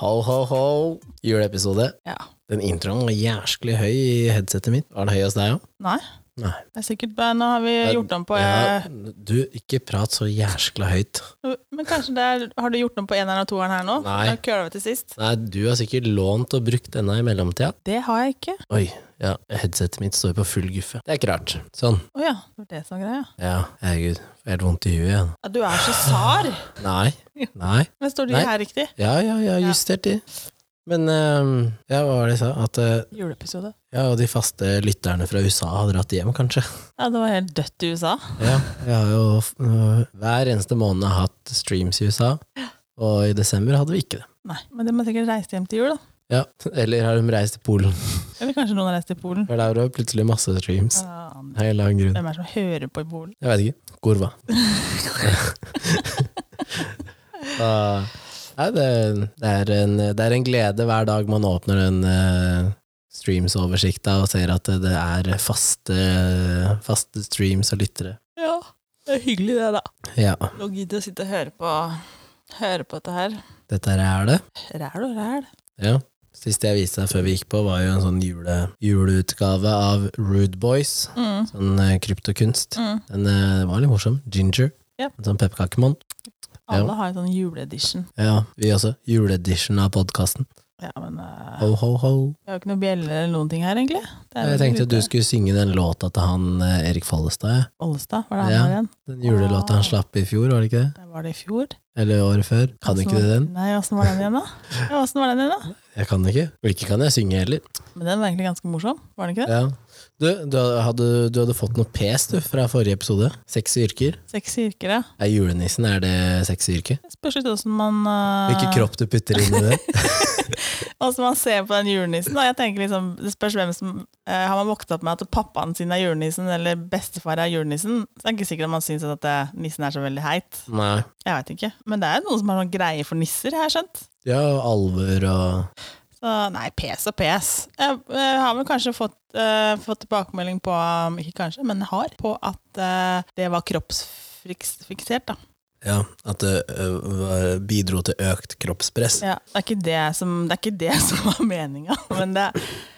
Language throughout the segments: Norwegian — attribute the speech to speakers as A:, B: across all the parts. A: Ho, ho, ho. Juleepisode.
B: Ja.
A: Den introen var jæsklig høy i headsetet mitt. Var den høy hos deg òg?
B: Nei.
A: Nei.
B: Det er sikkert bare Nå har vi gjort om på
A: Ja,
B: eh,
A: du, ikke prat så jæskla høyt.
B: Men kanskje det er Har du gjort om på eneren og toeren her nå?
A: Nei.
B: Da køla vi til sist.
A: Nei, du har sikkert lånt og brukt denne i mellomtida.
B: Det har jeg ikke.
A: Oi, ja, headsetet mitt står på full guffe. Det er ikke rart. Sånn.
B: Å ja. Det var det som var greia.
A: Ja, herregud. Jeg har helt vondt i huet igjen.
B: Ja, du er så sar!
A: Nei. Nei.
B: Men står de
A: Nei.
B: her riktig?
A: Ja, ja, jeg har
B: Ja.
A: justert de. Men eh, ja, hva var det jeg sa? At eh,
B: Juleepisode.
A: ja, og de faste lytterne fra USA har dratt hjem, kanskje.
B: Ja, det var helt dødt i USA.
A: Ja, jeg har jo eh, hver eneste måned hatt streams i USA, og i desember hadde vi ikke det.
B: Nei, men de har sikkert reist hjem til jul, da.
A: Ja, Eller har de reist til Polen?
B: Eller kanskje noen har reist til Polen.
A: For der var det plutselig masse streams.
B: Ja,
A: Av en eller annen grunn.
B: Hvem er det som hører på i Polen?
A: Jeg vet ikke. Kurva. Ah, nei, det, det, er en, det er en glede hver dag man åpner den eh, streams-oversikta og ser at det er faste, faste streams og lyttere.
B: Ja, det er hyggelig det, da.
A: Ja,
B: Nå gidder jeg å sitte og høre på, høre på dette her.
A: dette her er det.
B: Ræl og ræl.
A: Ja. Siste jeg viste deg før vi gikk på, var jo en sånn jule, juleutgave av Rude Boys.
B: Mm.
A: Sånn eh, kryptokunst.
B: Mm.
A: Den eh, var litt morsom. Ginger.
B: Ja.
A: En sånn pepperkakemann.
B: Alle har en sånn juleedition.
A: Ja, vi også. Juleedition av podkasten.
B: Ja, men eh,
A: Ho, ho, ho.
B: vi har jo ikke noe bjeller eller noen ting her, egentlig. Det
A: Jeg
B: vel
A: tenkte at du
B: ute.
A: skulle synge den låta til han eh, Erik Follestad. jeg.
B: Ollestad, var det han
A: Ja.
B: var igjen?
A: Den julelåta han slapp i fjor, var det ikke det?
B: Der var det i fjor.
A: Eller året før? Kan
B: Hvordan
A: ikke du
B: var-
A: den?
B: Nei, åssen var den igjen, da? Ja, åssen var den igjen, da?
A: Jeg kan ikke. Og ikke kan jeg synge heller.
B: Men den var egentlig ganske morsom, var den ikke det?
A: Ja. Du, du, hadde, du hadde fått noe pes du, fra forrige episode. Sexy yrker.
B: Sexy yrker, ja.
A: Er julenissen er det sexy yrke?
B: Det Spørs litt åssen man eh,
A: Hvilken kropp du putter inn i det.
B: Åssen man ser på den julenissen. Da. Jeg tenker liksom, Det spørs hvem som eh, Har man vokst opp med at pappaen sin er julenissen, eller bestefar er julenissen, så er det ikke sikkert at man syns at eh, nissen er så veldig heit.
A: Nei.
B: Jeg vet ikke. Men det er jo noen som har noen greie for nisser, har jeg skjønt.
A: Ja, og alvor og
B: Så nei, pes og pes. Jeg, eh, har vel kanskje fått, eh, fått tilbakemelding på um, Ikke kanskje, men har. På at eh, det var kroppsfiksert, da.
A: Ja, at det ø, var- bidro til økt kroppspress.
B: Ja, det, er ikke det, som, det er ikke det som var meninga, men, det-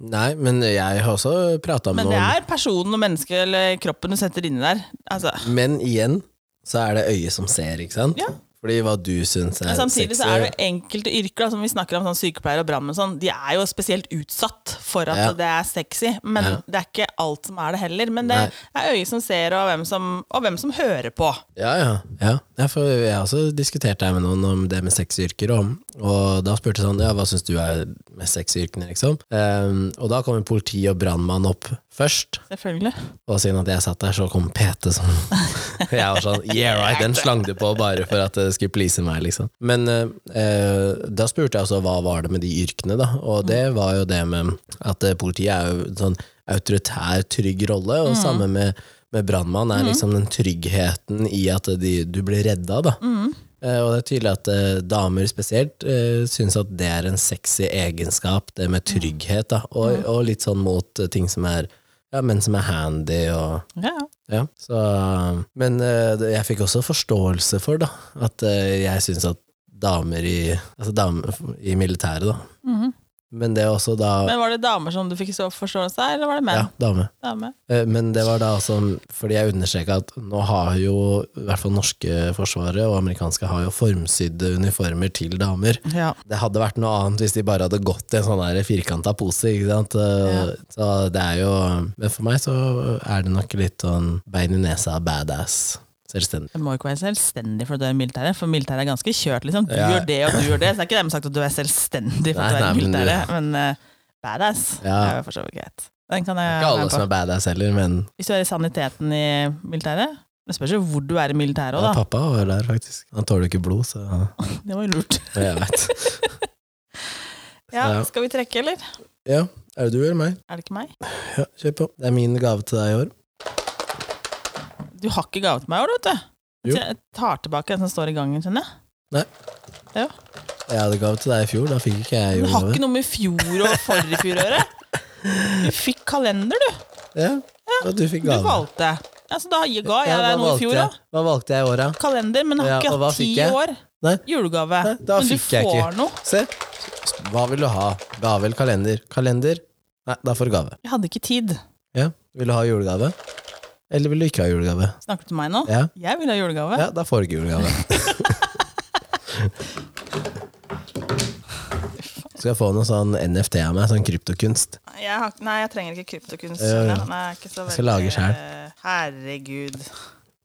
A: Nei, men jeg har også prata med
B: men det
A: noen.
B: er personen og mennesket eller kroppen du setter inni der. Altså,
A: Men igjen så er det øyet som ser, ikke sant?
B: Ja.
A: Fordi hva du syns er
B: Men samtidig
A: sexy
B: så er det enkelte yrker da, som vi snakker om, sånn sykepleiere og brannmenn, sånn, de er jo spesielt utsatt for at
A: Ja.
B: det er sexy. Men
A: Ja.
B: det er ikke alt som er det heller. Men det
A: Nei.
B: er øyet som ser, og hvem som, og hvem som hører på.
A: Ja, ja. ja. ja for jeg har også diskutert det med noen om det med sexyrker, og, og da spurte jeg sånn Ja, hva syns du er mest sexyrkene, liksom? Ehm, og da kom politi og brannmann opp først,
B: Selvfølgelig.
A: og siden at jeg satt der, så kom PT sånn. jeg var sånn Yeah, right! Den slang du på bare for at det skulle please meg, liksom. Men eh, eh, da spurte jeg også hva var det med de yrkene, da? Og det var jo det med at eh, politiet er jo en sånn autoritær, trygg rolle, og samme med, med brannmann er liksom den tryggheten i at de, du blir redda, da. Eh, og det er tydelig at eh, damer spesielt eh, syns at det er en sexy egenskap, det med trygghet, da. Og, og litt sånn mot eh, ting som er ja, menn som er handy og
B: Ja, ja.
A: ja, så, men eh, det- jeg fikk også forståelse for da, at eh, jeg syns at damer i, altså damer i militæret, da Men det er også da
B: Men var det damer som du fikk så forståelse av, eller var det menn?
A: Ja, dame.
B: Dame.
A: Eh, Men det var da også fordi jeg understreka at nå har jo i hvert fall norske forsvaret og amerikanske har jo formsydde uniformer til damer.
B: Ja.
A: Det hadde vært noe annet hvis de bare hadde gått i en sånn der firkanta pose. Ikke sant? Eh,
B: Ja.
A: Så det er jo Men for meg så er det nok litt sånn bein i nesa, badass, selvstendig.
B: Du må jo ikke være selvstendig for at du er i militæret, for militæret er ganske kjørt, liksom. Du
A: Ja.
B: gjør det, og du gjør det. Så det er ikke dermed sagt at du er selvstendig for at
A: Nei, nei,
B: du er i
A: men du-
B: militæret, men eh, badass
A: Ja.
B: er jo for så vidt greit. Den kan jeg
A: Ikke
B: være
A: alle
B: med på.
A: som er badass heller, men
B: Hvis du er i saniteten i militæret Det spørs jo hvor du er i militæret
A: ja,
B: òg, da.
A: pappa var der, faktisk. Han tåler jo ikke blod, så
B: Det var jo lurt.
A: Men jeg veit.
B: Ja,
A: Ja.
B: skal vi trekke, eller?
A: Ja, er det du eller meg?
B: Er det ikke meg?
A: Ja, kjør på. Det er min gave til deg i år.
B: Du har ikke gave til meg i år, vet du.
A: Jo.
B: Så jeg tar tilbake den som står i gangen, skjønner jeg.
A: Jeg hadde gave til deg i fjor, da fikk ikke jeg
B: Men Du har
A: julegave.
B: ikke noe med fjor og forrige fjor å gjøre. Du fikk kalender, du.
A: Ja, og du fikk
B: Du
A: gave.
B: valgte. Ja, så da ga
A: Ja,
B: jeg
A: hva
B: deg noe
A: valgte
B: i fjor, da.
A: jeg? Hva valgte jeg i år, da?
B: Kalender, men jeg
A: Ja,
B: har ikke
A: og hva
B: hatt ti
A: fikk jeg?
B: år.
A: Nei.
B: Julegave.
A: Nei, da
B: men du
A: fikk jeg
B: får
A: ikke.
B: noe.
A: Se, Hva vil du ha? Gave eller kalender? Kalender? Nei, da får du gave.
B: Jeg hadde ikke tid.
A: Ja. Vil du ha julegave? Eller vil du ikke ha julegave?
B: Snakker du til meg nå?
A: Ja,
B: Jeg vil ha julegave.
A: ja da får du ikke julegave. Skal jeg få noe sånn NFT av meg, sånn kryptokunst?
B: Jeg har, ikke- nei, jeg trenger ikke kryptokunst.
A: Jo, jo.
B: skjønner jeg. Den er ikke så
A: Jeg skal lage
B: veldig-
A: selv.
B: Herregud.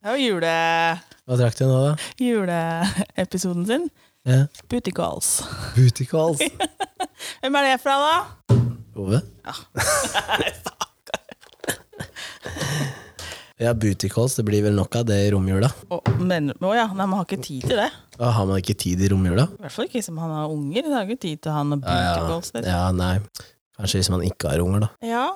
B: Det er jo jule,
A: Hva trakk du nå, da?
B: juleepisoden sin.
A: Ja.
B: Booty calls.
A: Booty calls.
B: Hvem er det fra, da?
A: Ove? Ja, booty calls, det blir vel nok av det i romjula.
B: Å, men, å ja, nei, man har ikke tid til det.
A: Da har man ikke tid i romjula.
B: I hvert fall ikke som han har unger. Det har ikke tid til han og booty
A: Ja,
B: calls. Liksom. Ja.
A: ja, nei. Kanskje hvis man ikke har unger, da.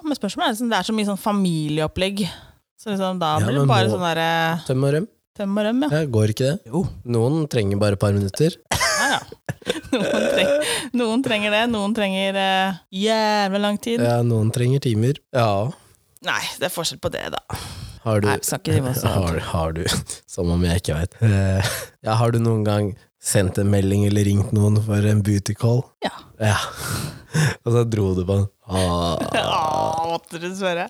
B: men spørsmålet er liksom, det er så mye sånn familieopplegg. Så liksom, da
A: Ja,
B: blir det
A: men
B: bare
A: må-
B: sånn derre
A: Tøm og røm?
B: tøm og røm, ja.
A: Ja, går ikke det?
B: Jo.
A: Noen trenger bare et par minutter.
B: Ja, ja. Noen, treng, noen trenger det, noen trenger eh, jævla lang tid.
A: Ja, noen trenger timer. Ja.
B: Nei, det er forskjell på det, da.
A: Har du
B: Nei, vi skal ikke drive oss sånn.
A: har, har du Som om jeg ikke veit. Ja, har du noen gang sendt en melding eller ringt noen for en booty call?
B: Ja.
A: Ja. Og så dro du på den. Ah.
B: Åh, måtte du spørre.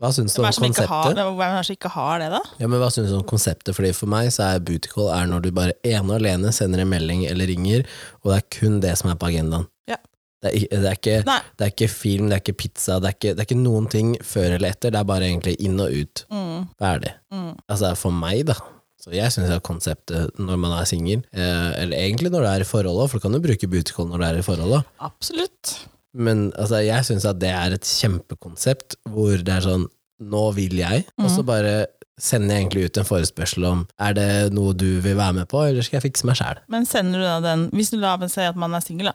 A: Hva syns du
B: Hvem
A: om
B: er det som ikke har,
A: konseptet?
B: hvem er det som ikke har det, da?
A: Ja, men hva synes du om konseptet? Fordi For meg så er booty call er når du bare ene og alene sender en melding eller ringer, og det er kun det som er på agendaen.
B: Ja.
A: Det, er, i- det, er ikke,
B: Nei.
A: det er ikke film, det er ikke pizza, det er ikke, det er ikke noen ting før eller etter. Det er bare egentlig inn og ut.
B: Mm,
A: Ferdig.
B: mm.
A: Altså for meg, da. Så jeg syns konseptet når man er singel, eh, eller egentlig når det er i forhold òg, for du kan jo bruke booty call når det er i forhold òg,
B: Absolutt.
A: men altså, jeg syns at det er et kjempekonsept hvor det er sånn Nå vil jeg, og
B: Mhm.
A: så bare sender jeg egentlig ut en forespørsel om er det noe du vil være med på, eller skal jeg fikse meg sjæl?
B: Men sender du da den Hvis du la meg si at man er singel, da.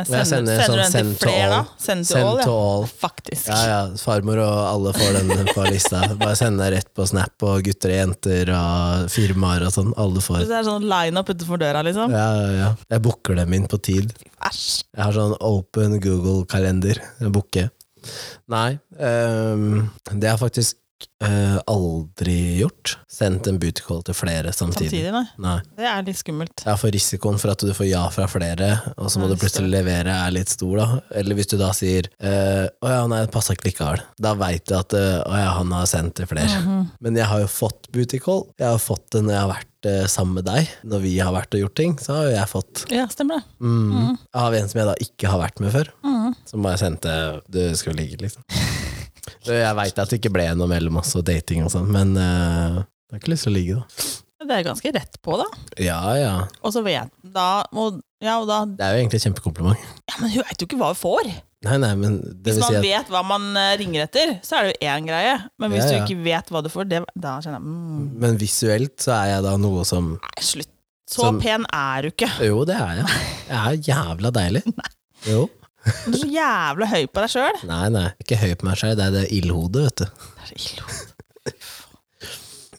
B: eh,
A: sender
B: Sender,
A: sånn
B: sender, du den til
A: send to
B: flere,
A: all.
B: da? Send to
A: Send
B: all,
A: to
B: ja.
A: all.
B: Faktisk.
A: Ja, ja, farmor og alle får den på lista. Bare send deg rett på Snap og gutter og jenter og firmaer og sånn. Alle
B: Så
A: får.
B: Det er sånn line up utenfor døra, liksom.
A: Ja, ja, ja. Jeg booker dem inn på tid.
B: Æsj.
A: Jeg har sånn open Google-kalender. Jeg booker. Nei, ehm, det har jeg faktisk eh, aldri gjort. Sendt en booty call til flere samtidig.
B: Samtidig, nei.
A: Nei.
B: Det er litt skummelt.
A: Ja, for risikoen for at du får ja fra flere, og så må
B: Ja,
A: du plutselig levere, er litt stor, da. Eller hvis du da sier eh, 'Å ja, nei, det passa ikke likevel', da veit du at eh, 'Å ja, han har sendt til flere'. Men jeg har jo fått booty call. Jeg har fått det når jeg har vært eh, sammen med deg. Når vi har vært og gjort ting, så har jo jeg fått
B: Ja, stemmer det.
A: Mm. Av en som jeg da ikke har vært med før. Som bare sendte 'du skal ligge', liksom. Så Jeg veit at det ikke ble noe mellom oss og dating og sånn, men eh, jeg har ikke lyst til å ligge, da.
B: Det er ganske rett på, da.
A: Ja ja.
B: Og så vet da, og, Ja, og da
A: Det er jo egentlig et kjempekompliment.
B: Ja, men hun veit jo ikke hva hun får!
A: Nei, nei, men det
B: Hvis
A: vil
B: man
A: si at
B: vet hva man eh, ringer etter, så er det jo én greie. Men hvis
A: Ja, ja.
B: du ikke vet hva du får, det, da kjenner jeg mm,
A: Men visuelt så er jeg da noe som
B: Nei, slutt. Så
A: Som-
B: pen er du ikke.
A: Jo, det er jeg. Jeg er jævla deilig. Jo.
B: Du er så jævlig høy på deg sjøl.
A: Nei, nei. Ikke høy på meg sjøl, det er det ildhodet, vet du.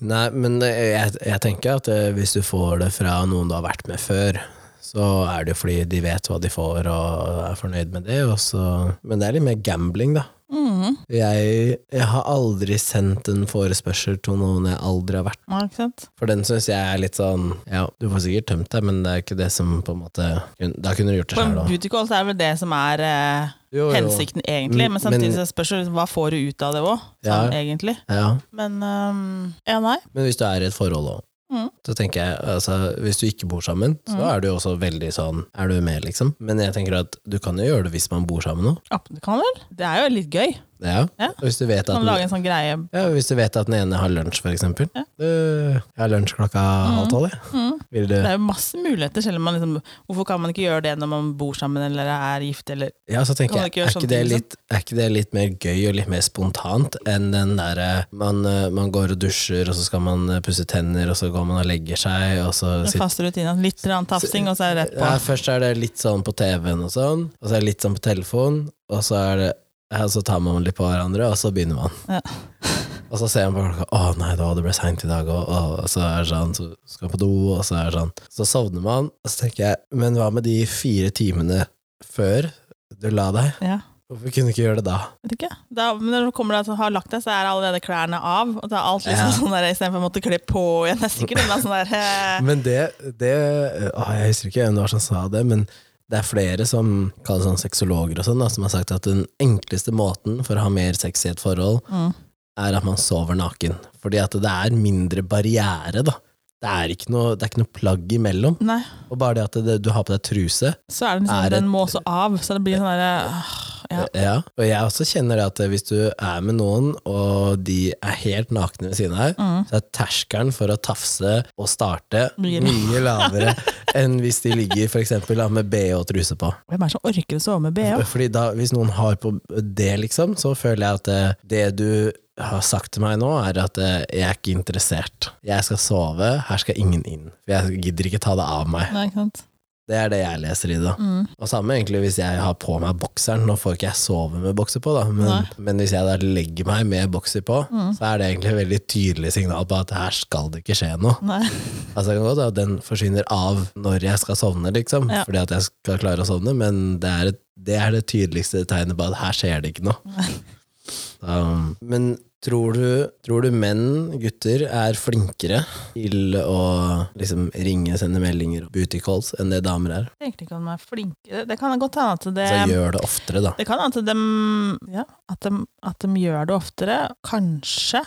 A: Nei, men eh, jeg, jeg tenker at eh, hvis du får det fra noen du har vært med før, så er det jo fordi de vet hva de får og er fornøyd med det, og så Men det er litt mer gambling, da.
B: Mm.
A: Jeg, jeg har aldri sendt en forespørsel til noen jeg aldri har vært
B: Ja, ikke sant?
A: For den syns jeg er litt sånn Ja, du får sikkert tømt deg, men det er ikke det som på en måte Da kunne du gjort det
B: På en
A: sjøl, da.
B: booty call så er det vel det som er eh,
A: Jo, jo.
B: hensikten, egentlig.
A: Mm,
B: Men samtidig
A: men-
B: så spørs det liksom, hva får du ut av det òg,
A: Ja.
B: egentlig.
A: Ja.
B: Men ehm, ja, nei.
A: Men hvis du er i et forhold òg,
B: Mm.
A: så tenker jeg altså, Hvis du ikke bor sammen, så
B: Mm.
A: er du jo også veldig sånn Er du med, liksom? Men jeg tenker at du kan jo gjøre det hvis man bor sammen òg.
B: Ja, men det kan vel? Det er jo litt gøy.
A: Ja.
B: Ja.
A: Og Hvis, du vet at
B: Kan lage
A: den-
B: en sånn greie.
A: ja, hvis du vet at den ene har lunsj, for eksempel.
B: Ja.
A: Du, jeg har lunsj klokka halv tolv, jeg.
B: Mm.
A: Vil du
B: Det er jo masse muligheter, selv om man liksom Hvorfor kan man ikke gjøre det når man bor sammen eller er gift, eller
A: Ja, så tenker
B: Kan man
A: jeg,
B: ikke
A: er
B: gjøre
A: ikke,
B: sånne
A: det
B: ting, liksom?
A: litt, er ikke det litt mer gøy og litt mer spontant enn den derre man, eh, man går og dusjer, og så skal man eh, pusse tenner, og så går man og legger seg, og så
B: den
A: sitter
B: faste rutina? Litt grann tafsing, og så er det rett på.
A: ja, Først er det litt sånn på TV-en og sånn, og så er det litt sånn på telefonen, og så er det ja, så tar man litt på hverandre, og så begynner man.
B: Ja.
A: Og så ser man på klokka 'Å nei, da, det ble seint i dag', og, og så er det sånn, så skal man på do, og så er det sånn. Så sovner man, og så tenker jeg 'Men hva med de fire timene før du la deg?'
B: Ja.
A: Hvorfor kunne du ikke gjøre det da?
B: Vet ikke. Da, men når du kommer til å ha lagt deg, så er allerede klærne av. Og det er alt liksom
A: Ja.
B: sånn der, Istedenfor å måtte kle på igjen. Det er sikkert en eller annen sånn der eh,
A: Men det, det å, Jeg husker ikke hvem det var som sa det, men det er flere som kaller sånn sexologer og sånn, da, som har sagt at den enkleste måten for å ha mer sex i et forhold,
B: Mm.
A: er at man sover naken. Fordi at det er mindre barriere, da. Det er ikke noe, det er ikke noe plagg imellom.
B: Nei.
A: Og bare det at det, du har på deg truse,
B: Så er det liksom,
A: Er det-
B: den må også av, så det blir sånn derre øh, ja.
A: Eh, Ja, og jeg også kjenner det at hvis du er med noen, og de er helt nakne ved siden av deg,
B: Mm.
A: så er terskelen for å tafse og starte
B: Mye
A: mye,
B: lavere.
A: lavere enn hvis de ligger for eksempel, da, med BH og truse på.
B: Hvem er det som orker å sove med bh?
A: Eh, Fordi da, Hvis noen har på det, liksom, så føler jeg at eh, det du har sagt til meg nå, er at eh, jeg er ikke interessert. Jeg skal sove, her skal ingen inn. For jeg gidder ikke ta det av meg.
B: Nei, ikke sant?
A: Det er det jeg leser i det. da.
B: Mm.
A: Og samme egentlig hvis jeg har på meg bokseren. Nå får ikke jeg sove med bokser på, da, men, men hvis jeg da legger meg med bokser på, så er det egentlig et veldig tydelig signal på at her skal det ikke skje noe.
B: Nei.
A: Altså det kan godt at Den forsvinner av når jeg skal sovne, liksom,
B: Ja.
A: fordi at jeg skal klare å sovne, men det er, et, det er det tydeligste tegnet på at her skjer det ikke noe. Um, men tror du, tror du menn, gutter, er flinkere til å liksom ringe, sende meldinger og booty calls enn det damer er?
B: Jeg tenkte ikke om de er flinke Det- Det kan godt hende at det
A: Så gjør det oftere, da.
B: Det kan hende at, dem- ja, at, dem- at de gjør det oftere, kanskje.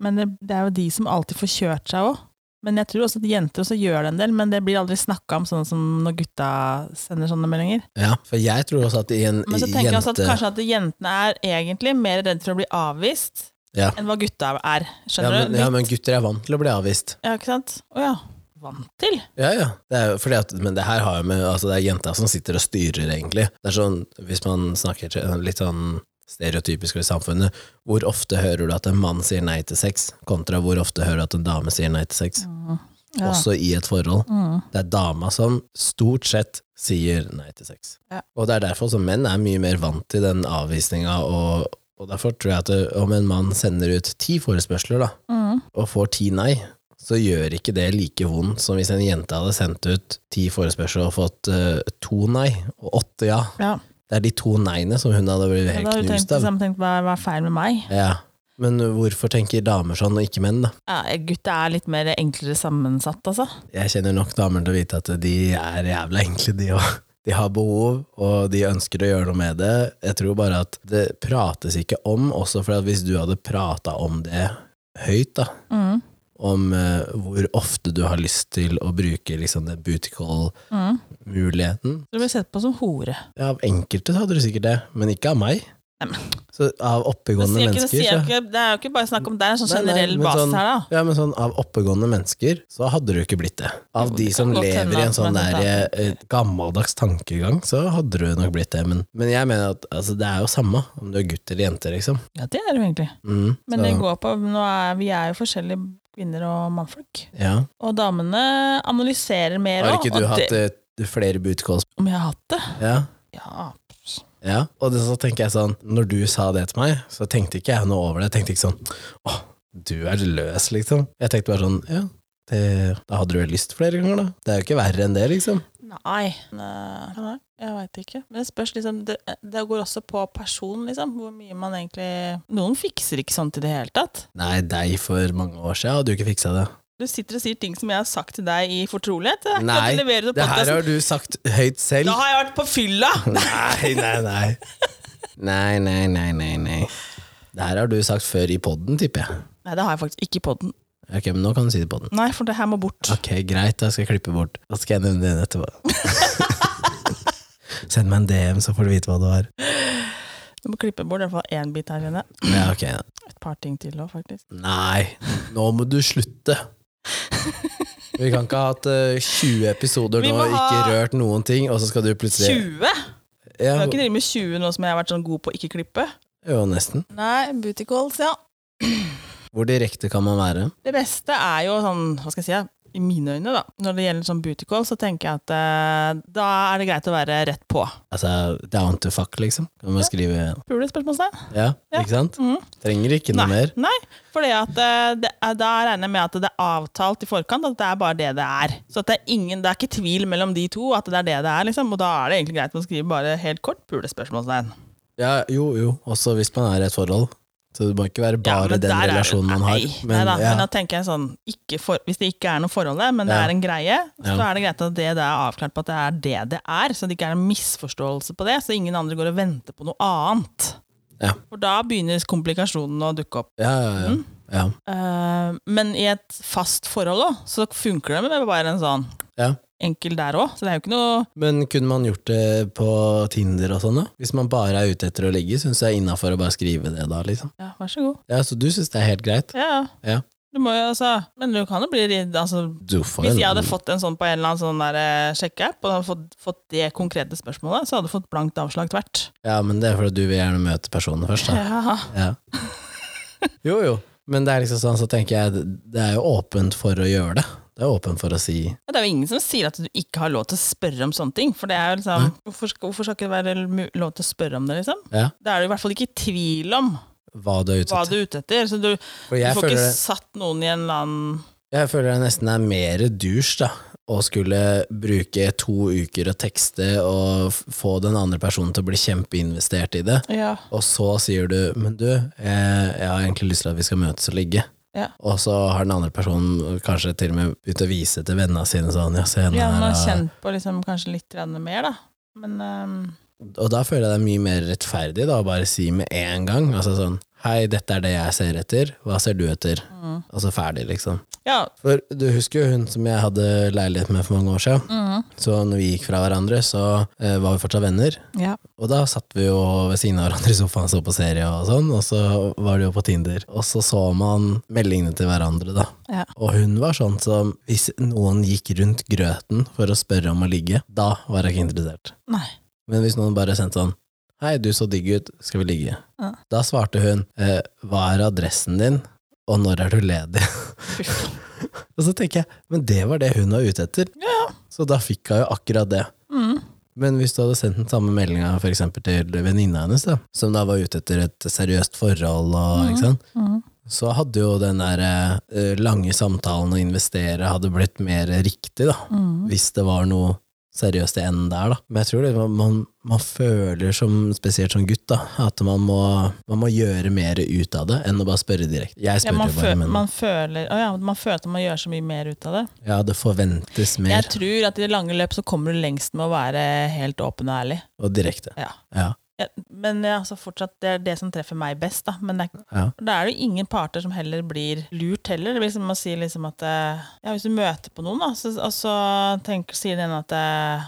B: Men det, det er jo de som alltid får kjørt seg òg. Men jeg tror også at jenter også gjør det en del, men det blir aldri snakka om sånn som når gutta sender sånne meldinger.
A: Ja, for jeg tror også at i en
B: Men så
A: i
B: tenker jeg også at
A: jente-
B: kanskje at jentene er egentlig mer redd for å bli avvist
A: Ja.
B: enn hva gutta er.
A: ja,
B: Skjønner
A: men,
B: du?
A: ja,
B: Litt-
A: men gutter er vant til å bli avvist.
B: ja, ikke sant? Å ja. Vant til?
A: Ja, ja. Det er, jo fordi at, men det her har jo med altså Det er jenta som sitter og styrer, egentlig. Det er sånn, Hvis man snakker til- litt sånn stereotypisk i samfunnet, hvor ofte hører du at en mann sier nei til sex, kontra hvor ofte hører du at en dame sier nei til sex?
B: Ja.
A: Også i et forhold.
B: Mm.
A: Det er dama som stort sett sier nei til sex.
B: Ja.
A: Og det er derfor som menn er mye mer vant til den avvisninga, og, og derfor tror jeg at det, om en mann sender ut ti forespørsler, da,
B: Mm.
A: og får ti nei, så gjør ikke det like vondt som hvis en jente hadde sendt ut ti forespørsler og fått eh, to nei og åtte ja.
B: ja.
A: Det er de to nei-ene som hun hadde blitt
B: Men
A: helt
B: Da har du tenkt,
A: knust av.
B: liksom, tenkt hva, hva er feil med meg?
A: Ja. Men hvorfor tenker damer sånn, og ikke menn, da?
B: Ja, gutta er litt mer enklere sammensatt, altså.
A: Jeg kjenner nok damer til å vite at de er jævla enkle, de òg. De har behov, og de ønsker å gjøre noe med det. Jeg tror bare at det prates ikke om, også for at hvis du hadde prata om det høyt, da,
B: Mm.
A: om eh, hvor ofte du har lyst til å bruke liksom den booty
B: Mm.
A: call-muligheten
B: Du blir sett på som hore.
A: ja, Av enkelte så hadde du sikkert det, men ikke av meg.
B: Nei, men-
A: Så av
B: Det,
A: oppegående
B: sier ikke, det,
A: mennesker
B: sier
A: så,
B: ikke, det er jo ikke bare snakk om det, det er en sånn
A: Nei, nei,
B: generell
A: men
B: basis
A: sånn-
B: her, da.
A: Ja, men sånn av oppegående mennesker så hadde du ikke blitt det. Av
B: Jo,
A: de
B: det
A: som
B: kan godt
A: lever
B: hende
A: i en
B: at man
A: sånn der
B: hadde hatt
A: eh, gammeldags tankegang, så hadde du nok blitt det. Men, men jeg mener at altså, det er jo samme om du er gutt eller jente, liksom.
B: Ja, det er det jo egentlig.
A: Mm,
B: Men
A: så,
B: det går på nå er, Vi er jo forskjellige kvinner og mannfolk.
A: ja.
B: Og damene analyserer mer
A: Har
B: også,
A: ikke du
B: og
A: hatt
B: det,
A: eh, flere bootcalls?
B: Om jeg har hatt det?
A: Ja.
B: Ja.
A: Ja, og det, så tenker jeg sånn Når du sa det til meg, så tenkte ikke jeg noe over det. Jeg tenkte ikke sånn Åh, du er løs, liksom. Jeg tenkte bare sånn Ja, det, da hadde du vel lyst flere ganger, da. Det er jo ikke verre enn det, liksom.
B: Nei. Nei, eh, jeg veit ikke. Men det spørs liksom det, det går også på person, liksom. Hvor mye man egentlig Noen fikser ikke sånt i det hele tatt.
A: Nei, deg for mange år siden hadde du ikke fiksa det.
B: Du sitter og sier ting som jeg har sagt til deg i fortrolighet. Det er ikke
A: Nei,
B: at du leverer det på
A: det her
B: podcasten.
A: har du sagt høyt selv.
B: Da har jeg vært på fylla!
A: Nei, nei, nei. Nei, nei, nei, nei, nei. Det her har du sagt før i podden, tipper jeg.
B: Nei, det har jeg faktisk ikke i podden.
A: Ok, men nå kan du si det i podden.
B: Nei, for det her må bort.
A: Ok, greit, da skal jeg klippe bort. Da skal jeg nevne det etterpå. Send meg en DM, så får du vite hva det var.
B: Du må klippe bort i hvert fall én bit her inne.
A: Ja, ok.
B: Et par ting til òg, faktisk.
A: Nei, nå må du slutte. Vi kan ikke ha hatt eh, 20 episoder
B: Vi
A: nå
B: må
A: og
B: ha-
A: ikke rørt noen ting, og så skal du plutselig
B: 20! Du
A: ja,
B: har ikke drevet med 20 nå som jeg har vært sånn god på å ikke klippe?
A: Jo, nesten.
B: Nei, booty calls, ja.
A: Hvor direkte kan man være?
B: Det beste er jo sånn, hva skal jeg si, ja, i mine øyne, da. Når det gjelder sånn booty call, så tenker jeg at eh, da er det greit å være rett på.
A: Altså, down to fuck, liksom? Kan man skrive
B: Puler spørsmålstegn?
A: Ja,
B: Ja.
A: ikke sant?
B: Mhm.
A: Trenger ikke noe mer.
B: Nei, for da regner jeg med at det er avtalt i forkant at det er bare det det er. Så at det er ingen, det er ikke tvil mellom de to at det er det det er, liksom. Og da er det egentlig greit å skrive bare helt kort pulespørsmålstegn.
A: Ja, jo, jo. Også hvis man er i et forhold. Så Det må ikke være
B: Ja,
A: bare
B: men
A: den
B: der er det-
A: relasjonen man har.
B: Nei,
A: Men,
B: nei da,
A: ja,
B: men da tenker jeg sånn ikke for, Hvis det ikke er noe forhold der, men det
A: Ja.
B: er en greie, så
A: Ja.
B: er det greit at det da er avklart på at det er det det er, så det ikke er en misforståelse på det, så ingen andre går og venter på noe annet.
A: Ja.
B: For da begynner komplikasjonene å dukke opp.
A: ja, ja,
B: Mm.
A: ja. ja.
B: Eh, men i et fast forhold òg, så funker det med bare en sånn
A: Ja.
B: enkel der òg. Så det er jo ikke noe
A: Men kunne man gjort det på Tinder og sånn, da? Hvis man bare er ute etter å ligge, syns jeg er innafor å bare skrive det, da, liksom.
B: Ja, vær så god.
A: Ja, Så du syns det er helt greit?
B: Ja, ja.
A: Ja.
B: Du må jo altså Men du kan jo bli redd, altså
A: Du får
B: Hvis
A: en-
B: jeg hadde fått en sånn på en eller annen sånn der, eh, sjekkeapp, og hadde fått, fått det konkrete spørsmålet, så hadde du fått blankt avslag tvert.
A: Ja, men det er fordi du vil gjerne møte personen først, da.
B: Ja.
A: Ja. Jo, jo. Men det er liksom sånn, så tenker jeg det- det er jo åpent for å gjøre det. Det er åpent for å si
B: Det er jo ingen som sier at du ikke har lov til å spørre om sånne ting. For det er jo liksom hvorfor, skal- hvorfor skal ikke det være mu- lov til å spørre om det, liksom?
A: ja,
B: Da er du i hvert fall ikke i tvil om
A: hva du er ute
B: hva
A: etter.
B: du er ute etter. Så du,
A: For
B: du
A: jeg
B: får
A: føler,
B: ikke
A: det,
B: satt noen i en eller annen
A: jeg føler det nesten er mer dusj, da. Å skulle bruke to uker å tekste og f- få den andre personen til å bli kjempeinvestert i det.
B: Ja.
A: Og så sier du 'men du, jeg, jeg har egentlig lyst til at vi skal møtes og ligge'.
B: Ja.
A: Og så har den andre personen kanskje til og med begynt å vise til vennene sine sånn 'ja, se henne
B: Vi
A: her'.
B: har
A: da».
B: kjent på liksom kanskje litt grann mer, da. Men ehm,
A: Og da føler jeg det er mye mer rettferdig da, å bare si med en gang. Altså sånn Hei, dette er det jeg ser etter. Hva ser du etter?
B: mm.
A: Og så ferdig, liksom.
B: Ja.
A: For du husker jo hun som jeg hadde leilighet med for mange år siden.
B: Mm.
A: Så når vi gikk fra hverandre, så eh, var vi fortsatt venner.
B: Ja.
A: Og da satt vi jo ved siden av hverandre i sofaen så på serie og sånn, og så var det jo på Tinder. Og så så man meldingene til hverandre, da.
B: Ja.
A: Og hun var sånn som hvis noen gikk rundt grøten for å spørre om å ligge, da var jeg ikke interessert.
B: Nei.
A: Men hvis noen bare sendte sånn Hei, du så digg ut, skal vi ligge?
B: Ja.
A: Da svarte hun eh, Hva er adressen din, og når er du ledig?
B: Fy faen.
A: og så tenker jeg, men det var det hun var ute etter. Så da fikk hun jo akkurat det.
B: Mm.
A: Men hvis du hadde sendt den samme meldinga for eksempel til venninna hennes, da, som da var ute etter et seriøst forhold, og, ikke sant?
B: Mm.
A: så hadde jo den der eh, lange samtalen å investere hadde blitt mer riktig, da.
B: Mm.
A: Hvis det var noe seriøst i enden der, da. Men jeg tror det, man- man, man føler, som, spesielt som gutt, da, at man må, man må gjøre mer ut av det enn å bare spørre direkte. Jeg
B: Ja,
A: spør
B: man,
A: jo bare,
B: føl
A: men
B: man, føler, å ja, man føler at man gjør så mye mer ut av det.
A: ja, det forventes mer,
B: Jeg tror at i det lange løp så kommer du lengst med å være helt åpen og ærlig.
A: og direkte.
B: Ja.
A: Ja,
B: Ja, men ja, altså fortsatt, det er det som treffer meg best, da. Men det er,
A: ja.
B: da er det jo ingen parter som heller blir lurt heller. Det blir som å si liksom at eh, ja, hvis du møter på noen, da, så, og så tenker, sier den ene at, eh,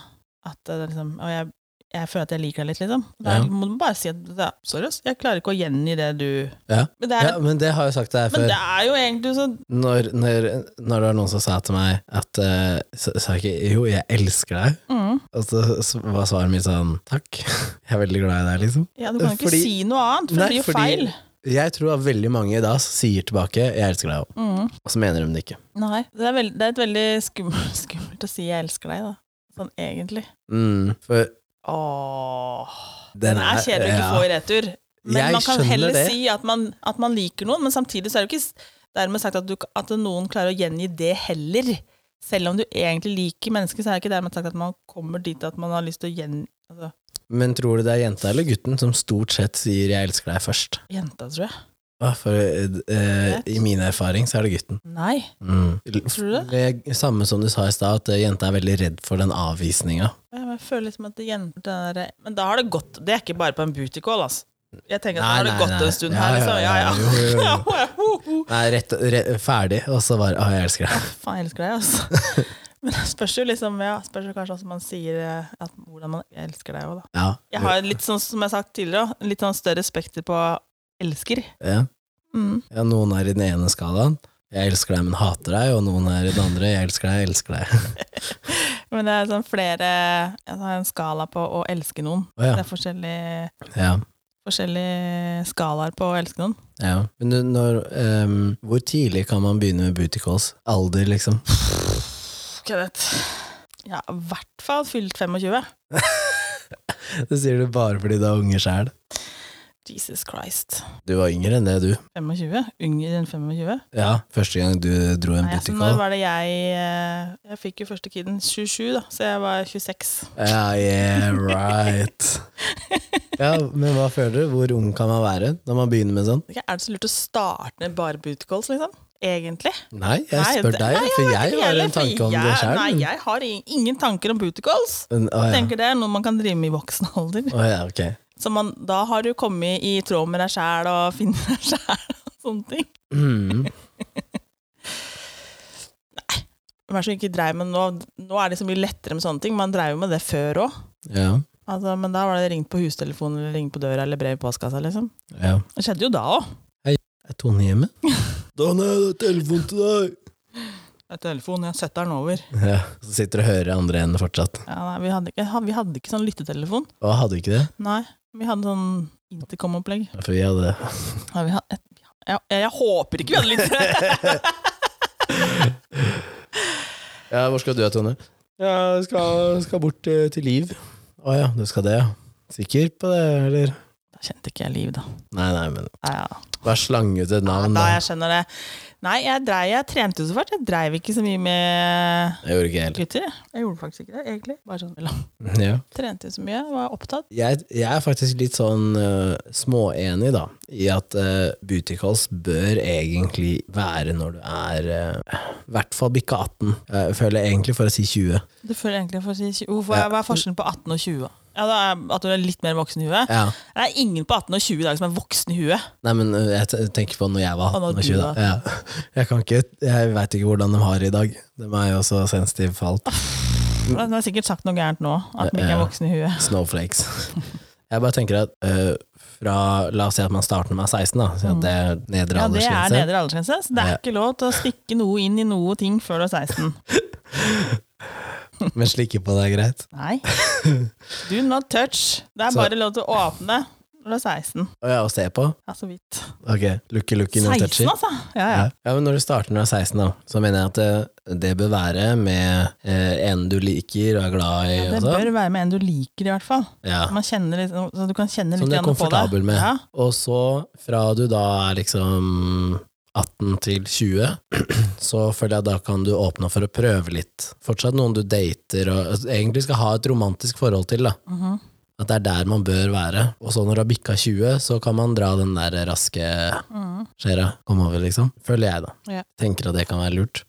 B: at eh, liksom, og jeg, jeg føler at jeg liker deg litt, liksom. Da
A: Ja.
B: må du bare si at ja, sorry, ass, jeg klarer ikke å gjengi det du
A: Ja.
B: Men det er,
A: ja, men det har jeg sagt til deg
B: men
A: før.
B: det er jo egentlig så
A: Når, når, når det var noen som sa til meg at eh, så- Sa jeg ikke 'jo, jeg elsker deg',
B: mm,
A: og så s- var svaret mitt sånn 'takk, jeg er veldig glad i deg', liksom.
B: Ja, du kan jo ikke
A: Fordi-
B: si noe annet, for det
A: Nei,
B: blir jo
A: fordi-
B: feil.
A: Jeg tror at veldig mange da sier tilbake 'jeg elsker deg', også»,
B: Mm.
A: og så mener de det ikke.
B: Nei, det er, veld, det er et veldig skummelt, skummelt å si 'jeg elsker deg', da. Sånn egentlig.
A: Mm, for
B: Åh.
A: den
B: Den er
A: er
B: kjedelig å ikke
A: ja.
B: få i retur. Men
A: Jeg
B: man kan
A: skjønner
B: heller
A: det.
B: si at man, at man liker noen, men samtidig så er det jo ikke s- dermed sagt at, du, at noen klarer å gjengi det heller. Selv om du egentlig liker mennesker, så er det ikke dermed sagt at man kommer dit at man har lyst til å gjengi altså,
A: Men tror du det er jenta eller gutten som stort sett sier 'jeg elsker deg' først?
B: Jenta, tror jeg.
A: Å, For eh, i min erfaring så er det gutten.
B: Nei.
A: Mm.
B: Tror
A: Det samme som du sa i stad, at eh, jenta er veldig redd for den avvisninga.
B: Jeg bare føler liksom at det jenter den der- Men da har det gått Det er ikke bare på en booty call, altså. Jeg tenker at da har det gått en stund her, liksom. Ja, ja.
A: Jo, jo, jo.
B: Ja, ho, ho.
A: Nei, rett, re- ferdig, og så bare Å, jeg elsker deg.
B: Faen, jeg elsker deg, altså. Men det spørs jo liksom, ja, spørs jo kanskje hvordan man sier eh, at, hvordan man jeg elsker deg òg, da.
A: Ja.
B: Jeg har litt sånn, som jeg har sagt tidligere, også, litt sånn større spekter på elsker.
A: ja.
B: Mm.
A: ja, noen er i den ene skalaen. Jeg elsker deg, men hater deg. Og noen er i den andre. Jeg elsker deg, jeg elsker deg.
B: Men det er sånn flere Jeg har en skala på å elske noen.
A: Å ja.
B: Det er forskjellige,
A: ja.
B: forskjellige skalaer på å elske noen.
A: ja. Men du, når ehm, Hvor tidlig kan man begynne med booty calls? Alder, liksom?
B: Køddett. Ja, i hvert fall fylt 25.
A: Det sier du bare fordi du er unge sjæl.
B: Jesus Christ.
A: Du var yngre enn det, du.
B: 25? Yngre enn 25?
A: Ja, første gang du dro en
B: Nei, altså,
A: booty
B: når
A: call.
B: var det jeg eh, Jeg fikk jo første kiden 27, da, så jeg var 26.
A: Ja, yeah, right. Ja, men hva føler du? Hvor ung kan man være når man begynner med sånn?
B: Ok, Er det så lurt å starte med bare booty-calls, liksom? Egentlig?
A: Nei, jeg
B: Nei,
A: spør
B: det-
A: deg,
B: nei,
A: for
B: vet
A: jeg
B: ikke
A: har en
B: heller,
A: tanke om
B: fordi
A: det
B: jeg-
A: sjøl.
B: Nei, jeg har i- ingen tanker om booty calls.
A: Å
B: Jeg
A: ja.
B: tenker det er noe man kan drive med i voksen alder.
A: Å ja, ok.
B: Så man, da har du kommet i tråd med deg sjæl og finner deg sjæl og sånne ting.
A: Mm.
B: Hvem som ikke dreiv med nå, nå er det så mye lettere med sånne ting. Man dreiv jo med det før òg.
A: Ja.
B: Altså, men da var det ringt på hustelefonen, eller ringt på døra, eller brev i postkassa, liksom.
A: ja.
B: Det skjedde jo da òg.
A: Er Tone hjemme? Donne, det er telefon til deg!
B: Telefonen, jeg setter den over.
A: Ja, Så sitter du og hører andre enden fortsatt.
B: Ja, nei, vi, hadde ikke, vi hadde ikke sånn lyttetelefon.
A: Å, hadde du ikke det?
B: Nei, vi hadde sånn intercom-opplegg.
A: Ja, For vi hadde det.
B: Ja, vi hadde, jeg, jeg, jeg håper ikke vi hadde lyttere!
A: Ja, hvor skal du, Tone? Ja, jeg skal, skal bort eh, til Liv. Å ja, du skal det, ja. Sikker på det, eller?
B: da kjente ikke jeg liv, da.
A: Nei, nei, men
B: Ja, ja.
A: bare slangete navn,
B: Da
A: da.
B: jeg skjønner det. Nei, jeg, dreiv- jeg trente jo så fælt. Jeg dreiv ikke så mye med
A: Jeg gjorde ikke helt.
B: gutter. jeg. Jeg gjorde faktisk ikke det, egentlig. Bare sånn mellom.
A: Ja.
B: Trente jo så mye, var opptatt.
A: Jeg, jeg er faktisk litt sånn eh, småenig, da, i at uh, booty calls bør egentlig være når du er eh, I hvert fall bikka 18. Jeg føler egentlig for å si 20.
B: Du føler egentlig for å si tjue- Hvorfor
A: Ja.
B: Hva er forskjellen på 18 og 20? Ja, da er At du er litt mer voksen i huet?
A: Ja.
B: Det er ingen på 18 og 20 i dag som er voksen i huet.
A: Nei, men eh, jeg te- tenker på når jeg var
B: Og når
A: 18 og
B: du
A: 20.
B: var.
A: Da. Ja. Jeg kan ikke, jeg veit ikke hvordan de har det i dag. De er jo så sensitive for alt.
B: Du har sikkert sagt noe gærent nå, at vi ikke er
A: Mm. Ja.
B: voksen i huet.
A: Snowflakes. Jeg bare tenker at øh, fra La oss si at man starter når man er 16, da. Så det er nedre
B: Mm. Ja, det er
A: aldersgrense.
B: nedre aldersgrense, så det er
A: Ja.
B: ikke lov til å stikke noe inn i noe ting før du er 16.
A: Men slikke på det er greit.
B: Nei. Do not touch. Det er
A: Så-
B: bare lov til å åpne når du er 16.
A: Og ja, å se på.
B: Ja, så vidt.
A: Ok, looky looky no
B: 16,
A: touchy.
B: altså! Ja, ja.
A: Ja. ja, men når du starter når du er 16, da, så mener jeg at det, det bør være med eh, en du liker og er glad i.
B: Det
A: og sånn.
B: bør være med en du liker, i hvert fall.
A: Ja.
B: Man kjenner litt, så du kan kjenne litt
A: Som du er
B: grann på det.
A: komfortabel med.
B: Ja.
A: Og så, fra du da er liksom 18 til 20, så føler jeg da kan du åpne opp for å prøve litt. Fortsatt noen du dater og altså, egentlig skal ha et romantisk forhold til, da.
B: Mhm.
A: At det er der man bør være. Og så når du har bikka 20, så kan man dra den der raske
B: Mhm.
A: skjæra. Kom over, liksom. Føler jeg, da.
B: Ja.
A: Tenker at det kan være lurt.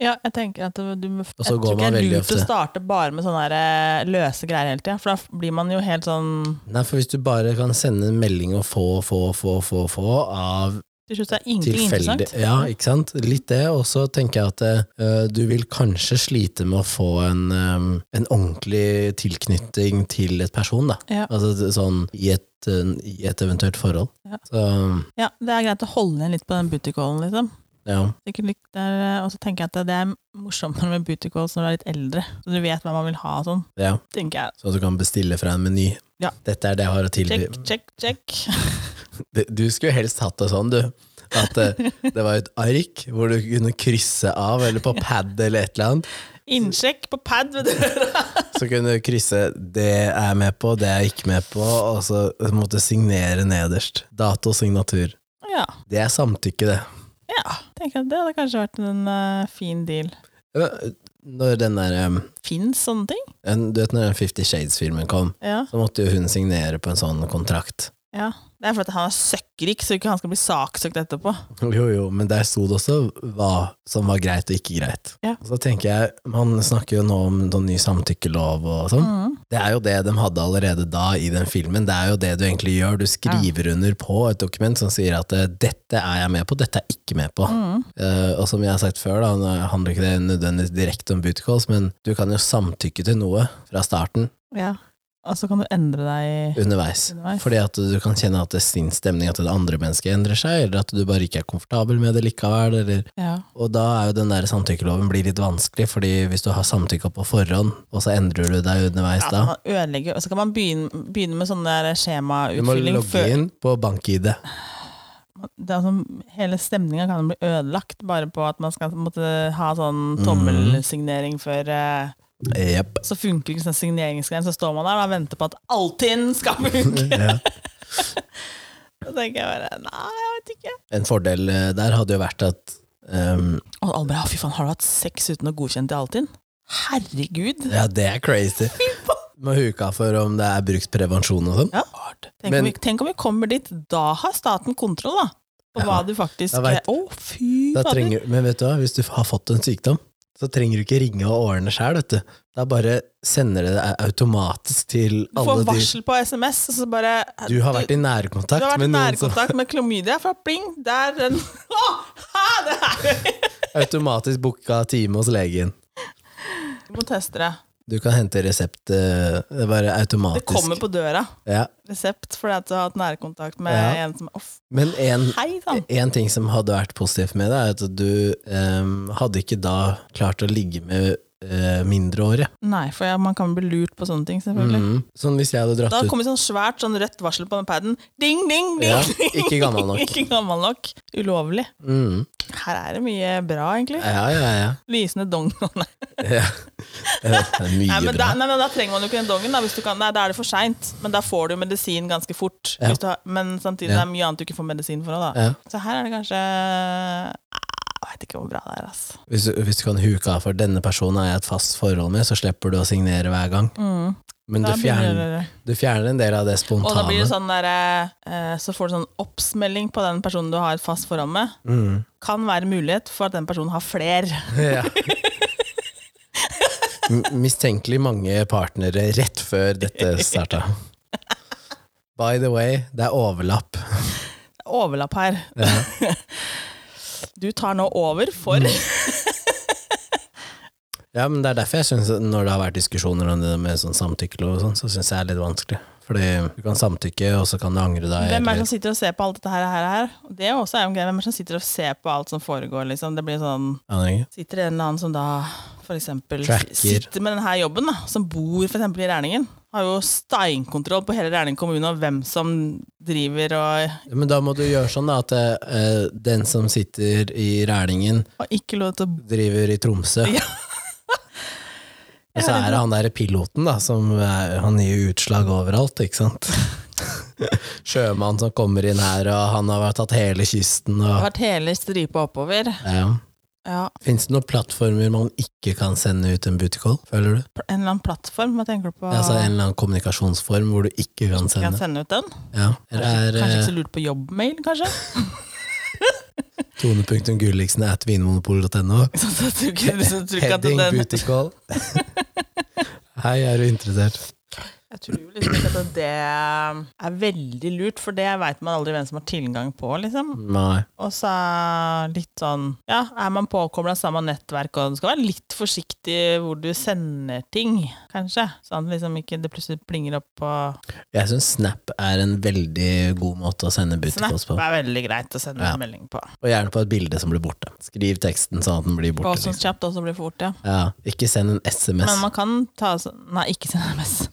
B: ja, jeg tenker at du må Jeg
A: så
B: tror
A: går man
B: ikke det er
A: veldig
B: lurt å
A: ofte.
B: starte bare med sånne der, eh, løse greier hele tida, for da f- blir man jo helt sånn
A: Nei, for hvis du bare kan sende en melding og få, få, få, få, få av
B: Til slutt er ingenting
A: tilfeldig.
B: interessant.
A: Ja, ikke sant? Litt det, og så tenker jeg at eh, du vil kanskje slite med å få en, eh, en ordentlig tilknytning til et person, da.
B: Ja.
A: Altså det- sånn i et, eh, i et eventuelt forhold.
B: Ja.
A: Så
B: Ja, det er greit å holde igjen litt på den bootycallen, liksom.
A: ja.
B: Sikkert litt der, eh, Og så tenker jeg at det- det er morsommere med bootycalls når du er litt eldre, så du vet hva man vil ha og sånn,
A: ja.
B: tenker jeg.
A: Så du kan bestille fra en meny.
B: Ja.
A: Dette er det jeg har å tilby.
B: Check, check, check.
A: Det- Du skulle helst hatt det sånn, du. At eh, det var et ark hvor du kunne krysse av, eller på pad eller et eller annet.
B: Innsjekk på pad ved døra.
A: Så kunne du krysse 'det er jeg med på', 'det er jeg ikke med på', og så måtte du signere nederst. Dato og signatur.
B: Ja.
A: Det er samtykke, det.
B: ja. Tenker at det hadde kanskje vært en eh, fin deal.
A: Når den der um,
B: Fins sånne ting?
A: en- Du vet når den Fifty Shades-filmen kom,
B: Ja.
A: så måtte jo hun signere på en sånn kontrakt.
B: ja. Det er fordi han er søkkrik, så ikke han skal bli saksøkt etterpå.
A: Jo, jo, men der sto det også hva som var greit og ikke greit.
B: Ja.
A: Så tenker jeg, man snakker jo nå om noen ny samtykkelov og sånn.
B: Mhm.
A: Det er jo det de hadde allerede da i den filmen. Det er jo det du egentlig gjør. Du skriver under på et dokument som sier at eh, 'dette er jeg med på, dette er jeg ikke med på'.
B: Mhm.
A: Eh, og som jeg har sagt før, da, nå handler ikke det nødvendigvis direkte om booty calls, men du kan jo samtykke til noe fra starten
B: Ja. Og så kan du endre deg
A: underveis.
B: underveis.
A: Fordi at du kan kjenne at det er sin stemning, at det andre mennesket endrer seg, eller at du bare ikke er komfortabel med det likevel. Eller.
B: Ja.
A: Og da er jo den der samtykkeloven blir litt vanskelig, fordi hvis du har samtykka på forhånd, og så endrer du deg underveis
B: Ja,
A: da
B: man ødelegger, og så kan man begynne, begynne med sånn der
A: Du må
B: skjemautfylling
A: logge
B: før
A: inn på bank-ID.
B: det er sånn, Hele stemninga kan bli ødelagt bare på at man skal måtte ha sånn
A: Mm.
B: tommelsignering før eh,
A: Jepp.
B: så funker ikke sånn signeringsgreien, så står man der og venter på at Altinn skal funke.
A: Ja.
B: Så tenker jeg bare nei, jeg vet ikke.
A: En fordel eh, der hadde jo vært at ehm,
B: Og alle bare «Å, fy faen, har du hatt sex uten å godkjenne til Altinn? Herregud!
A: Ja, det er crazy. Må huka for om det er brukt prevensjon og sånn.
B: Ja.
A: Hard.
B: Tenk,
A: Men-
B: om vi, tenk om vi kommer dit, da har staten kontroll, da. På hva
A: Ja.
B: du faktisk
A: Jeg vet.
B: Å, fy
A: Da
B: fader.
A: trenger, men vet du hva, hvis du har fått en sykdom, så trenger du ikke ringe og ordne sjøl, vet du. Da bare sender det deg automatisk til
B: Du
A: alle
B: får
A: de
B: varsel på SMS, og så bare
A: Du har vært i
B: du har
A: nærkontakt
B: vært i
A: med noen som
B: nærkontakt med klamydia, for pling, der den Å, ha, det er
A: automatisk booka time hos legen.
B: Du må teste det.
A: Du kan hente resept eh, det er bare
B: Det
A: automatisk.
B: kommer på døra.
A: ja.
B: Resept fordi at du har hatt nærkontakt med
A: Ja.
B: en som er off.
A: Men en,
B: Hei sann!
A: en ting som hadde vært positivt med det, er at du eh, hadde ikke da klart å ligge med eh, mindreårige.
B: Nei, for jeg, man kan bli lurt på sånne ting, selvfølgelig.
A: Mm. Sånn hvis jeg hadde dratt
B: Da
A: ut
B: kommer sånn svært sånn rødt varsel på den paden. Ding, ding, ding!
A: Ja, ikke gammel nok.
B: ikke gammel nok. Ulovlig.
A: mm.
B: Her er det mye bra, egentlig.
A: Ja, ja, ja.
B: Lysende dong. Nei,
A: ja. Det er mye
B: men
A: bra.
B: da, nei, men da trenger man jo ikke den dongen. Da, hvis du kan, nei, da er det for seint. Men da får du medisin ganske fort.
A: Ja.
B: Hvis du har, men samtidig
A: Ja.
B: det er mye annet du ikke får medisin for. også, Da.
A: Ja.
B: Så her er det kanskje ah, Jeg veit ikke hvor bra det er, ass.
A: Hvis, du- hvis du kan huke av for denne personen er jeg i et fast forhold med, så slipper du å signere hver gang.
B: Mm.
A: Men du
B: Da
A: fjerner,
B: begynner det-
A: du fjerner en del av det
B: Og da blir
A: spontane.
B: det sånn der, eh, så får du sånn oppsmelding på den personen du har et fast forhold med.
A: Mm.
B: Kan være mulighet for at den personen har fler.
A: Ja. M- Mistenkelig mange partnere rett før dette starta. By the way, det er overlapp.
B: Overlapp her. Du tar nå over for
A: Ja, men Det er derfor jeg synes at når det har vært diskusjoner om det med sånn samtykkelov, og sånn, så syns jeg det er litt vanskelig. Fordi du kan samtykke, og så kan du angre deg.
B: Hvem er det
A: eller-
B: som sitter og ser på alt dette her? her, her? Og Det er jo også er jo en greie. Hvem er det som sitter og ser på alt som foregår? Liksom? Det blir sånn
A: Aner ikke.
B: Sitter det en eller annen som da for eksempel
A: Tracker.
B: sitter med denne jobben, da, som bor for eksempel i Rælingen, har jo steinkontroll på hele Rælingen kommune og hvem som driver og,
A: Men da må du gjøre sånn da, at eh, den som sitter i Rælingen,
B: og ikke lov til å
A: driver i Tromsø.
B: Ja.
A: Og så er det han der piloten, da, som er, han gir jo utslag overalt, ikke sant? Sjømann som kommer inn her, og han har tatt hele kysten og
B: vært hele stripa oppover.
A: ja.
B: Ja,
A: Fins det noen plattformer man ikke kan sende ut en bootycall, føler du?
B: pl- En eller annen plattform, hva tenker du på?
A: Altså en eller annen kommunikasjonsform hvor du ikke kan
B: Ah. Kan
A: sende?
B: jeg sende ut den?
A: Ja. Eller
B: Kanskje, kanskje
A: er eh,
B: ikke så lurt på jobbmail, kanskje?
A: tone.gulliksen at vinmonopolet.no?
B: Så jeg tror ikke- så jeg tror ikke at
A: Heading
B: den-
A: bootycall. Hei, er du interessert?
B: Jeg tror liksom ikke at det er veldig lurt, for det veit man aldri hvem som har tilgang på, liksom.
A: Nei.
B: Og så er litt sånn Ja, er man påkobla samme nettverk, og du skal være litt forsiktig hvor du sender ting, kanskje. Sånn at liksom ikke det plutselig plinger opp på
A: Jeg syns Snap er en veldig god måte å sende
B: Snap
A: bootycalls på.
B: er veldig greit å sende
A: Ja.
B: en melding på.
A: Og gjerne på et bilde som blir borte. Skriv teksten sånn at den blir
B: På
A: borte.
B: sånn
A: Liksom.
B: kjapt også blir for fort, ja.
A: Ja, ikke send en SMS.
B: Men man kan ta så- Nei, ikke send SMS.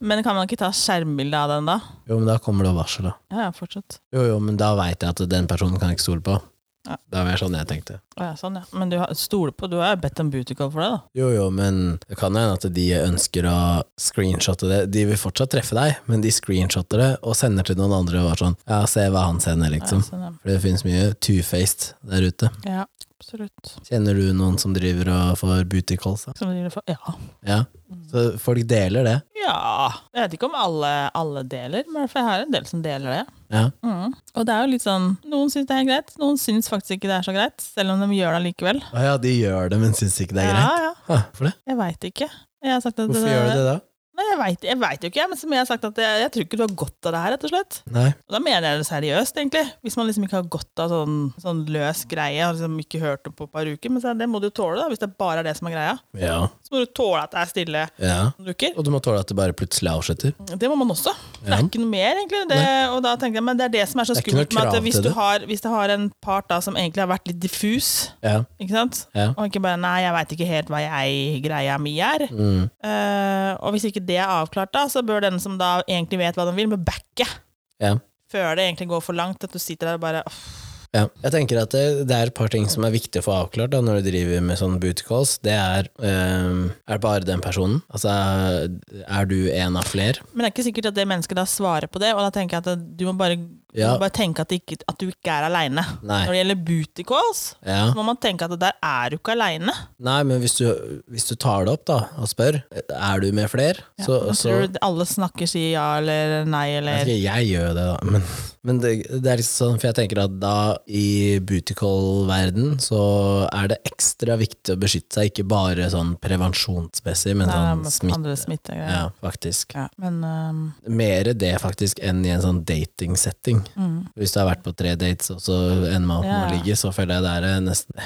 B: Men kan man ikke ta skjermbilde av den da?
A: Jo, men da kommer det varsel, da.
B: Ja, ja, fortsatt.
A: Jo, jo, men da veit jeg at den personen kan jeg ikke stole på.
B: Ja.
A: Det var sånn jeg tenkte.
B: Å ja, sånn, ja. Men du har- stoler på Du har jo bedt om bootycall for det, da.
A: Jo, jo, men det kan jo hende at de ønsker å screenshotte det. De vil fortsatt treffe deg, men de screenshotter det og sender til noen andre og er sånn Ja, se hva han sender,
B: Ja,
A: liksom.
B: sånn, ja.
A: For det finnes mye two-faced der ute.
B: ja, absolutt.
A: Kjenner du noen som driver og får booty calls? da?
B: Som de får- Ja.
A: Ja. Så folk deler det.
B: ja. Jeg vet ikke om alle, alle deler, men i hvert fall jeg har en del som deler det.
A: Ja.
B: Mm. Og det er jo litt sånn Noen syns det er greit, noen syns faktisk ikke det er så greit. Selv om de gjør det likevel.
A: Å ja, de gjør det, men syns ikke det er greit?
B: Ja, ja.
A: Hæ, Hvorfor det?
B: Jeg veit ikke. Jeg har sagt at
A: Hvorfor gjør du det da?
B: Nei, jeg vet- jeg veit jo ikke, jeg, men som jeg har sagt at jeg, jeg tror ikke du har godt av det her, rett og slett.
A: Nei.
B: Og da mener jeg det seriøst, egentlig. Hvis man liksom ikke har godt av sånn, sånn løs greie, har liksom ikke hørt det på et par uker, men så er det må du tåle, da, hvis det bare er det som er greia.
A: Ja.
B: Så må du tåle at det er stille
A: ja.
B: noen uker.
A: Og du må tåle at det bare plutselig avslutter.
B: Det må man også. Det
A: Ja.
B: er ikke noe mer, egentlig. Det, og da tenker jeg, men det er det som er så
A: Det er ikke noe
B: skummelt med
A: krav
B: at hvis
A: til
B: du,
A: det.
B: har, hvis du har en part da som egentlig har vært litt diffus,
A: Ja.
B: ikke sant?
A: Ja.
B: Og ikke bare 'nei, jeg veit ikke helt hva jeg greia mi er'.
A: Mm.
B: Eh, og hvis ikke det er avklart, da, så bør den som da egentlig vet hva den vil, må backe.
A: Ja.
B: Før det egentlig går for langt, at du sitter der og bare «Åh,
A: ja. Jeg tenker at det, det er et par ting som er viktig å få avklart da, når du driver med sånne booty calls. Det er ehm, Er det bare den personnen? Altså, er du en av flere?
B: Men det er ikke sikkert at det mennesket da svarer på det, og da tenker jeg at du må bare
A: Ja.
B: Bare tenke at, det ikke, at du ikke er aleine.
A: Nei.
B: Når det gjelder booty calls,
A: Ja.
B: så må man tenke at det der er du ikke aleine.
A: Nei, men hvis du, hvis du tar det opp da, og spør Er du med flere, så, så
B: Tror du alle snakker sier ja eller nei
A: jeg,
B: eller
A: vet ikke, jeg gjør jo det, da. Men, men det, det er liksom sånn, for jeg tenker at da i bootycall-verden så er det ekstra viktig å beskytte seg, ikke bare sånn prevensjonsmessig, men
B: Nei,
A: sånn
B: men
A: smitte.
B: andre smittegreier.
A: Ja, faktisk.
B: Ja. Men ehm, øhm,
A: Mere det faktisk enn i en sånn dating-setting.
B: mm.
A: Hvis du har vært på tre dates, og så ender man opp med
B: Ja.
A: å ligge, så føler jeg det er eh, nesten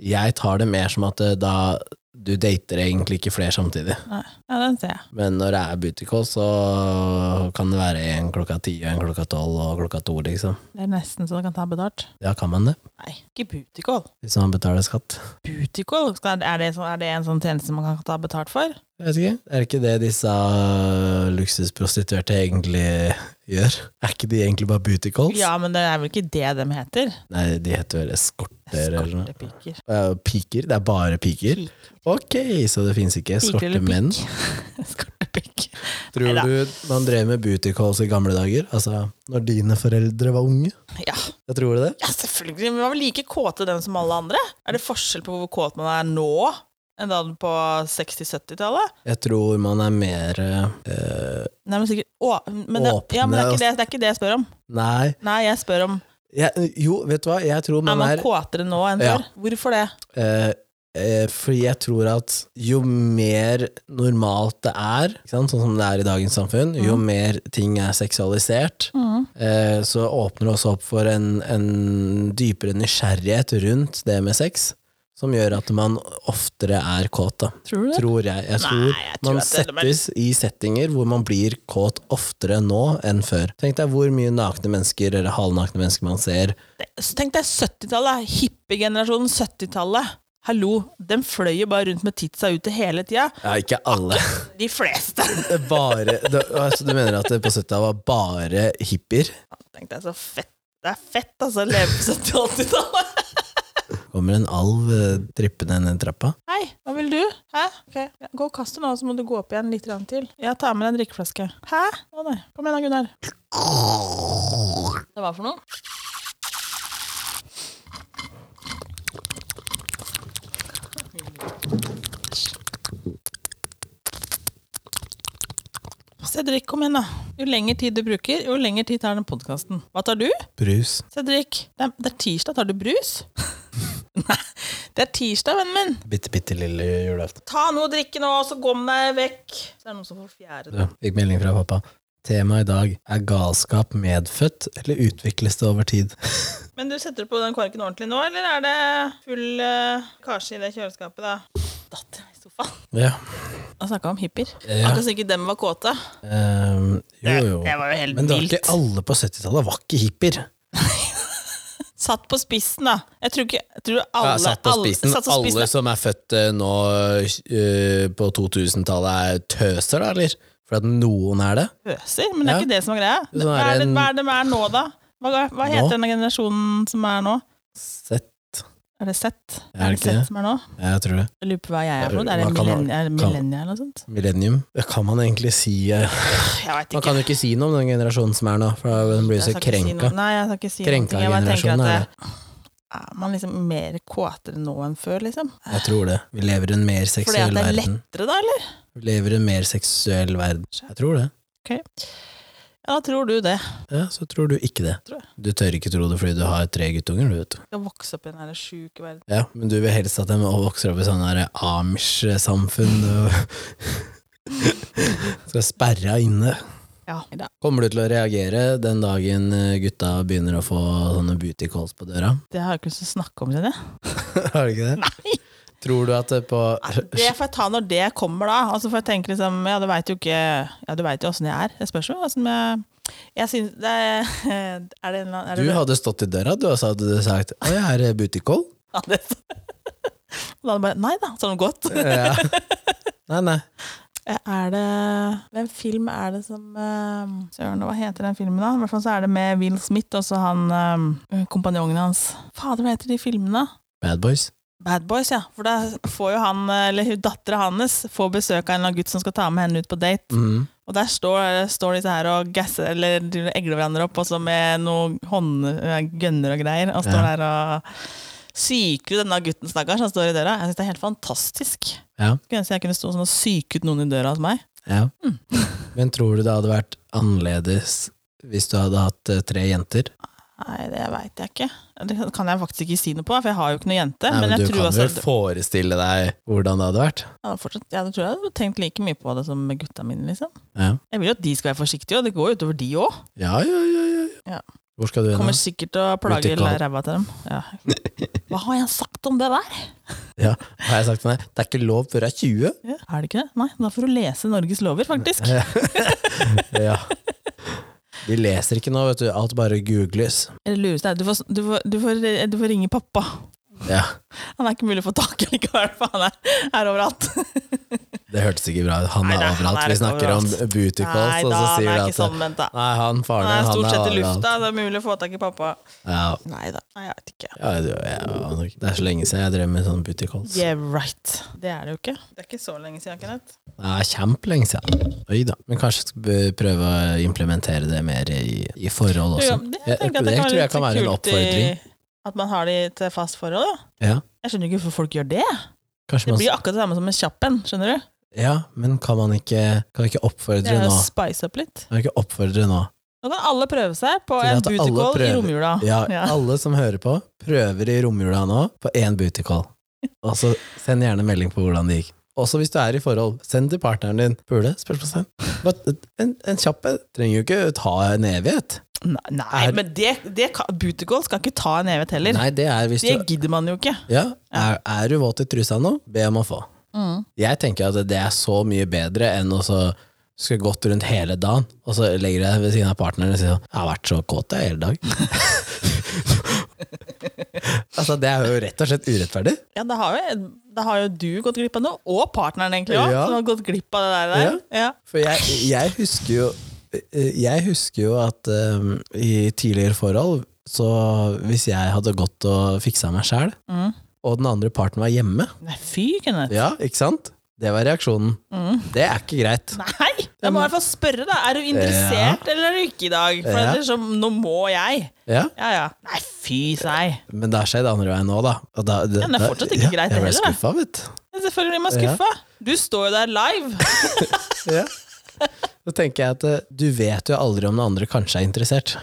A: Jeg tar det mer som at eh, da du dater egentlig ikke flere samtidig.
B: ja, den ser jeg.
A: Men når det er booty call, så kan det være en klokka ti, en klokka tolv og klokka to, liksom.
B: Det er nesten så du kan ta betalt.
A: Ja, kan man det?
B: Nei, ikke booty call.
A: Hvis man betaler skatt.
B: Booty call? Skal- Er det, sånn- er det en sånn tjeneste man kan ta betalt for?
A: Jeg vet ikke. Er det ikke det disse øh, luksusprostituerte egentlig gjør? Er ikke de egentlig bare booty calls?
B: Ja, men det er vel ikke det de heter?
A: Nei, de heter vel eskorter eller noe.
B: Eskortepiker.
A: Ja, Piker? Det er bare piker?
B: Pik-
A: Ok, så det fins ikke
B: piker eller
A: eskortemenn?
B: pikk. Eskortepikk.
A: Tror
B: Neida.
A: du man drev med booty calls i gamle dager? Altså, når dine foreldre var unge?
B: Ja.
A: Jeg tror det.
B: ja, selvfølgelig. Vi var vel like kåte den som alle andre. Er det forskjell på hvor kåt man er nå, enn da på 60-70-tallet?
A: Jeg tror man er mer eh,
B: Nei, men sikkert å, men det,
A: Åpne
B: ja, men det, er
A: og-
B: ikke det, det er ikke det jeg spør om.
A: Nei.
B: Nei, jeg spør om
A: Jeg, jo, vet du hva? Jeg tror
B: er
A: man
B: man
A: er
B: kåtere nå enn
A: Ja.
B: før. Hvorfor det?
A: eh, eh, Fordi jeg tror at jo mer normalt det er, ikke sant? sånn som det er i dagens samfunn,
B: Mm.
A: jo mer ting er seksualisert, eh, så åpner det også opp for en, en dypere nysgjerrighet rundt det med sex, som gjør at man oftere er kåt. da.
B: Tror du det?
A: Tror jeg. Jeg tror,
B: jeg tror
A: man
B: at det- men-
A: settes i settinger hvor man blir kåt oftere nå enn før. Tenk deg hvor mye nakne mennesker eller halvnakne mennesker man ser.
B: Så Tenk deg 70-tallet, hippiegenerasjonen 70-tallet. Hallo, dem fløy jo bare rundt med titsa ute hele tida.
A: Ja, ikke alle.
B: De fleste.
A: Det er Bare, det, altså, du mener at det på 70-tallet var bare hippier?
B: Tenk deg så fett. Det er fett, altså, å leve på 70-80-tallet.
A: Kommer en alv eh, trippende ned trappa?
B: Hei, hva vil du? Hæ? Ok, ja, Gå og kast deg nå, så må du gå opp igjen litt grann til. Jeg tar med deg en drikkeflaske. Hæ? Å nei. Kom igjen da, Gunnar. Det var for noe? Cedric, kom igjen, da. Jo lengre tid du bruker, jo lengre tid tar den podkasten. Hva tar du?
A: Brus.
B: Cedric, det er, det er tirsdag. Tar du brus? Nei, det er tirsdag, vennen min.
A: Bitte, bitte lille julaften.
B: Ta noe å drikke nå, så kom deg vekk. Så er det noen som får fjerde.
A: Du, fikk melding fra pappa. Temaet i dag er galskap medfødt eller utvikles det over tid?
B: Men du setter på den korken ordentlig nå, eller er det full uh, kasje i det kjøleskapet, da? Datt i sofaen.
A: Ja.
B: Han snakka om hippier.
A: Ja.
B: Akkurat som ikke dem var kåte.
A: ehm, jo,
B: Det
A: jo.
B: var jo helt
A: Men det var
B: vilt.
A: ikke alle på 70-tallet var ikke hippier.
B: Satt på spissen, da. Jeg tror ikke jeg tror alle,
A: ja, satt på
B: alle-
A: spissen.
B: satt på
A: Alle,
B: spissen.
A: som er født eh, nå eh, på 2000-tallet er tøser, da, eller? For at noen er det?
B: Pøser, men det er
A: Ja.
B: ikke det som er greia.
A: Sånn
B: Hva
A: er
B: er det,
A: en-
B: hva er det de er nå, da? Hva, hva
A: Nå?
B: heter denne generasjonen som er nå?
A: Sett.
B: Er det Z?
A: Er det ikke
B: Z
A: det?
B: som er nå?
A: Ja, jeg tror det.
B: Jeg lurer på hva jeg er for noe. Er
A: Hva
B: det
A: kan man-
B: millennia er det
A: kan-
B: millennia eller noe sånt?
A: Millennium. Det kan man egentlig si eh,
B: Jeg vet
A: Man
B: ikke.
A: kan jo ikke si noe om den generasjonen som er nå, for den blir
B: Jeg
A: så
B: skal ikke si
A: krenka.
B: noe- Nei, jeg skal ikke si
A: Krenka
B: noe. Jeg bare tenker
A: generasjonen
B: at det, er man liksom mer kåtere nå enn før, liksom?
A: Jeg tror det. Vi lever i en mer
B: Fordi at
A: seksuell
B: det er
A: verden.
B: lettere, da, eller?
A: Vi lever i en mer seksuell verden. Jeg tror det.
B: Ja, da tror du det.
A: Ja, så tror du ikke det.
B: Tror jeg.
A: Du tør ikke tro det fordi du har tre guttunger, du vet. du.
B: Skal vokse opp i den her sjuke verden.
A: Ja, men du vil helst at de vokser opp i sånn her Amish-samfunn og Skal sperre inne.
B: Ja. Da.
A: Kommer du til å reagere den dagen eh, gutta begynner å få sånne booty calls på døra?
B: Det har jeg ikke lyst til å snakke om, kjenner jeg.
A: Har du ikke det?
B: Nei.
A: Tror du at det på
B: Det får jeg ta når det kommer, da. Altså, for jeg tenker liksom, ja, du veit jo ikke Ja, du veit jo åssen jeg er. Det spørs jo åssen jeg Jeg syns det er, er det en eller annen er
A: Du
B: det,
A: hadde stått i døra, du, og så hadde du sagt 'Å, jeg er eh, booty call'.
B: Ja, det, Og da hadde jeg bare Nei da, sånn så har det gått.
A: Ja. Nei, nei.
B: Eh, Er det Hvem film er det som eh, Søren, hva heter den filmen, da? I hvert fall så er det med Will Smith og så han eh, kompanjongen hans. Fader, hva heter de filmene?
A: Bad boys.
B: Bad Boys, ja. For da får jo han, eh, eller dattera hans, får besøk av en eller annen gutt som skal ta med henne ut på date.
A: Mhm.
B: Og der står, står disse her og gasser eller driver og egler hverandre opp, også med noen hånd, eh, gønner og greier. Og står
A: Ja.
B: der og syker ut denne gutten, stakkars, han står i døra. Jeg syns det er helt fantastisk.
A: Ja,
B: Skulle ønske jeg kunne stå sånn og syke ut noen i døra hos meg.
A: ja.
B: Mm.
A: Men tror du det hadde vært annerledes hvis du hadde hatt eh, tre jenter?
B: Nei, det veit jeg ikke. Det kan jeg faktisk ikke si noe på, for jeg har jo ikke noe jente.
A: Nei,
B: men,
A: men
B: jeg
A: du
B: tror
A: kan
B: også
A: vel
B: at
A: forestille deg hvordan det hadde vært?
B: jeg, hadde fortsatt, jeg tror jeg hadde tenkt like mye på det som med gutta mine, liksom.
A: Ja,
B: Jeg vil jo at de skal være forsiktige, og det går jo utover de òg.
A: ja, ja. ja, ja.
B: Ja.
A: Hvor skal du hen?
B: Kommer
A: da?
B: sikkert til å plage
A: Vertikal.
B: ræva til dem. Ja. Hva har jeg sagt om det der?
A: Ja. Har jeg sagt til deg det er ikke lov før jeg er 20?
B: Ja. Er det ikke det? Nei, da får du lese Norges lover, faktisk.
A: Ja. De leser ikke nå, vet du. Alt bare googles.
B: Det lureste er du får, du, får, du, får, du får ringe pappa.
A: Ja,
B: Han er ikke mulig å få tak i likevel, for han er, er overalt.
A: Det hørtes ikke bra ut. Han
B: Nei,
A: er
B: nei, han
A: overalt.
B: er
A: Vi
B: ikke
A: snakker om
B: overalt.
A: booty calls,
B: Nei
A: og
B: da,
A: så
B: han
A: sier
B: er
A: du
B: ikke
A: at
B: sånn, vent da.
A: Nei, han faren
B: Han
A: din,
B: er
A: han er
B: stort sett i
A: overalt.
B: lufta, det er mulig å få tak i pappa.
A: Ja,
B: Nei da, Nei, jeg vet ikke.
A: ja, det, ja, det er så lenge siden jeg drev med sånn booty calls.
B: Yeah right. Det er det jo ikke. Det er ikke så lenge siden, Kenneth.
A: Det er kjempelenge siden. Oi da. Men kanskje skal vi prøve å implementere det mer i, i forhold også.
B: jeg tenker at det, kan
A: tror
B: være
A: jeg
B: litt
A: kan være en
B: kult i,
A: oppfordring.
B: at man har de til fast forhold. Da.
A: Ja.
B: Jeg skjønner ikke hvorfor folk gjør det.
A: Kanskje
B: Det
A: man
B: blir akkurat det samme som en kjapp en. skjønner du?
A: Ja, men kan man ikke Kan vi ikke
B: Det
A: oppfordre
B: er
A: nå?
B: å spice opp litt.
A: Kan vi ikke oppfordre nå?
B: Nå kan alle prøve seg på
A: Til
B: en
A: at alle
B: booty call i
A: prøver.
B: romjula.
A: Ja,
B: Ja.
A: alle som hører på, prøver i romjula nå på én booty call. Og så send gjerne melding på hvordan det gikk. Også hvis du er i forhold, send til partneren din. Burde? Spørsmålstegn. Bare En, en kjapp en. Trenger jo ikke ta en evighet.
B: Nei, nei
A: Er-
B: men det, det kan, booty call skal ikke ta en evighet heller.
A: Nei, det er hvis
B: Det
A: du
B: gidder man jo ikke.
A: Ja, er, er du våt i trusa nå, be om å få. Jeg tenker at det er så mye bedre enn å så skal gått rundt hele dagen, og så legger jeg deg ved siden av partneren og sier sånn 'Jeg har vært så kåt jeg hele dag'. altså, det er jo rett og slett urettferdig.
B: Ja, da har, jo, da har jo du gått glipp av noe, og partneren egentlig òg,
A: Ja.
B: som har gått glipp av det der. Ja.
A: For jeg, jeg husker jo Jeg husker jo at um, i tidligere forhold, så hvis jeg hadde gått og fiksa meg sjæl,
B: Mm.
A: og den andre parten var hjemme,
B: Nei, fy, Kenneth.
A: ja, ikke sant? Det var reaksjonen.
B: Mm.
A: Det er ikke greit.
B: Nei! Jeg må i hvert fall spørre, da. Er du interessert, eller er du ikke i dag? For
A: Ja.
B: ellers så Nå må jeg.
A: Ja,
B: Ja, ja. Nei, fy seg.
A: Men det har skjedd andre veien nå, da. Og da det,
B: Ja, men det er
A: da-
B: fortsatt ikke greit
A: Jeg ble
B: heller, da.
A: skuffa, vet
B: Men Selvfølgelig blir man skuffa. Du står jo der live.
A: du. Ja. Så tenker jeg at eh, du vet jo aldri om den andre kanskje er interessert,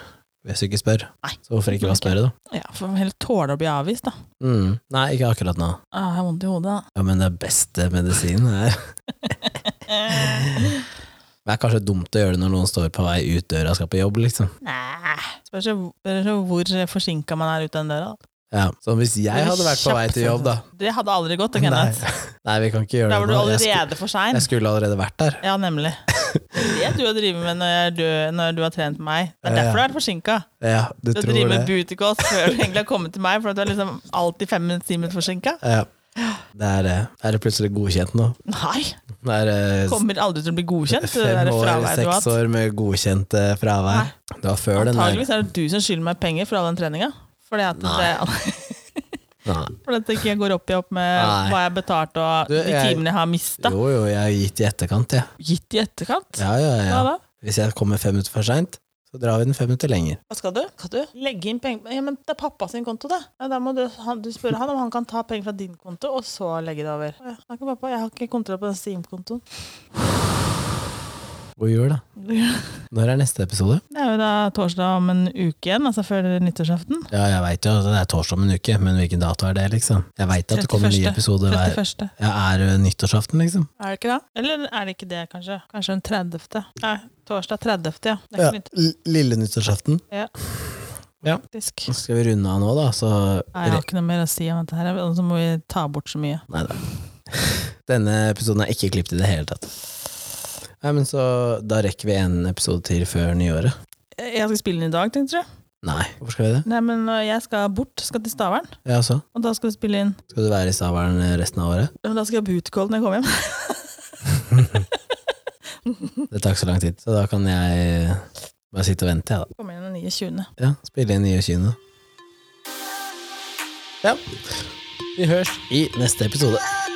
A: hvis du ikke spør.
B: Nei.
A: Så hvorfor ikke bare spørre, da?
B: Ja, Får heller tåle å bli avvist, da.
A: Mm. Nei, ikke akkurat nå.
B: Ah, jeg har vondt i hodet. da.
A: Ja, men det beste medisinen er Det er kanskje dumt å gjøre det når noen står på vei ut døra og skal på jobb, liksom.
B: Nei. Spørs jo spørs jo hvor forsinka man er ut den døra. da.
A: Ja. Så hvis jeg
B: Bare
A: hadde vært på vei
B: kjapp
A: til jobb, da
B: Det hadde aldri gått, det,
A: Nei,
B: Kenneth.
A: nei vi kan ikke gjøre
B: sånn. Da var
A: det
B: du
A: nå. Jeg, sku,
B: allerede for sein.
A: jeg skulle allerede vært der.
B: Ja, nemlig. Det er det du har drevet med når, jeg er død, når du har trent meg. Det er
A: Ja, ja.
B: derfor du er forsinka.
A: Ja, du
B: Du
A: tror
B: driver med
A: det.
B: booty calls før du egentlig har kommet til meg, for at du er liksom alltid fem minutter, ti minutter forsinka.
A: Ja. Det er, eh, er det plutselig godkjent nå.
B: Nei!
A: Det er eh,
B: Kommer aldri til å bli godkjent. Det
A: Fem
B: der
A: år,
B: fraværet du har
A: seks
B: hatt.
A: år med godkjent eh, fravær. Det var før den der
B: Antageligvis er det du som skylder meg penger for all den treninga. Fordi at det,
A: Nei.
B: fordi at det ikke går opp i opp med
A: Nei.
B: hva jeg betalte og
A: Du,
B: de
A: jeg-
B: timene jeg har mista.
A: Jo, jo, jeg har gitt i etterkant, jeg.
B: Gitt i etterkant.
A: Ja, ja,
B: Hva
A: ja.
B: da?
A: Hvis jeg kommer fem minutter for seint, så drar vi den fem minutter lenger.
B: Hva skal du? Skal du legge inn penger Ja, men det er pappa sin konto, det. Ja, da må du, han, du spørre han om han kan ta penger fra din konto, og så legge det over. Ja, takk, pappa. Jeg har ikke kontroll på den Steam-kontoen.
A: God jul, da.
B: Det
A: Når er neste episode?
B: er jo da torsdag om en uke igjen, altså før nyttårsaften.
A: Ja, jeg veit jo, altså, det er torsdag om en uke, men hvilken dato er det, liksom? Jeg veit at det kommer en ny
B: 31..
A: episode hver
B: 31.
A: ja, Er det nyttårsaften, liksom?
B: Er det ikke det? Eller er det ikke det, kanskje? Kanskje den 30. Nei, torsdag 30., ja. Det er
A: Ja,
B: ikke nytt,
A: l- lille nyttårsaften.
B: faktisk.
A: Så skal vi runde av nå, da, så
B: Nei, jeg har ikke noe mer å si om dette her, og så må vi ta bort så mye.
A: Nei da. Denne episoden er ikke klippet i det hele tatt. Nei, men så Da rekker vi en episode til før nyåret.
B: Jeg skal spille den i dag, tenkte du?
A: Nei, hvorfor skal vi det?
B: Nei, men øh, jeg skal bort, skal til Stavern,
A: Ja, så.
B: og da skal du spille inn
A: Skal du være i Stavern resten av året?
B: Men da skal jeg ha bootcall når jeg kommer hjem.
A: Det tar ikke så lang tid, så da kan jeg bare sitte og vente, jeg,
B: Kommer hjem den 29.
A: da. Ja, spille inn nye kino. Ja. Vi høres i neste episode.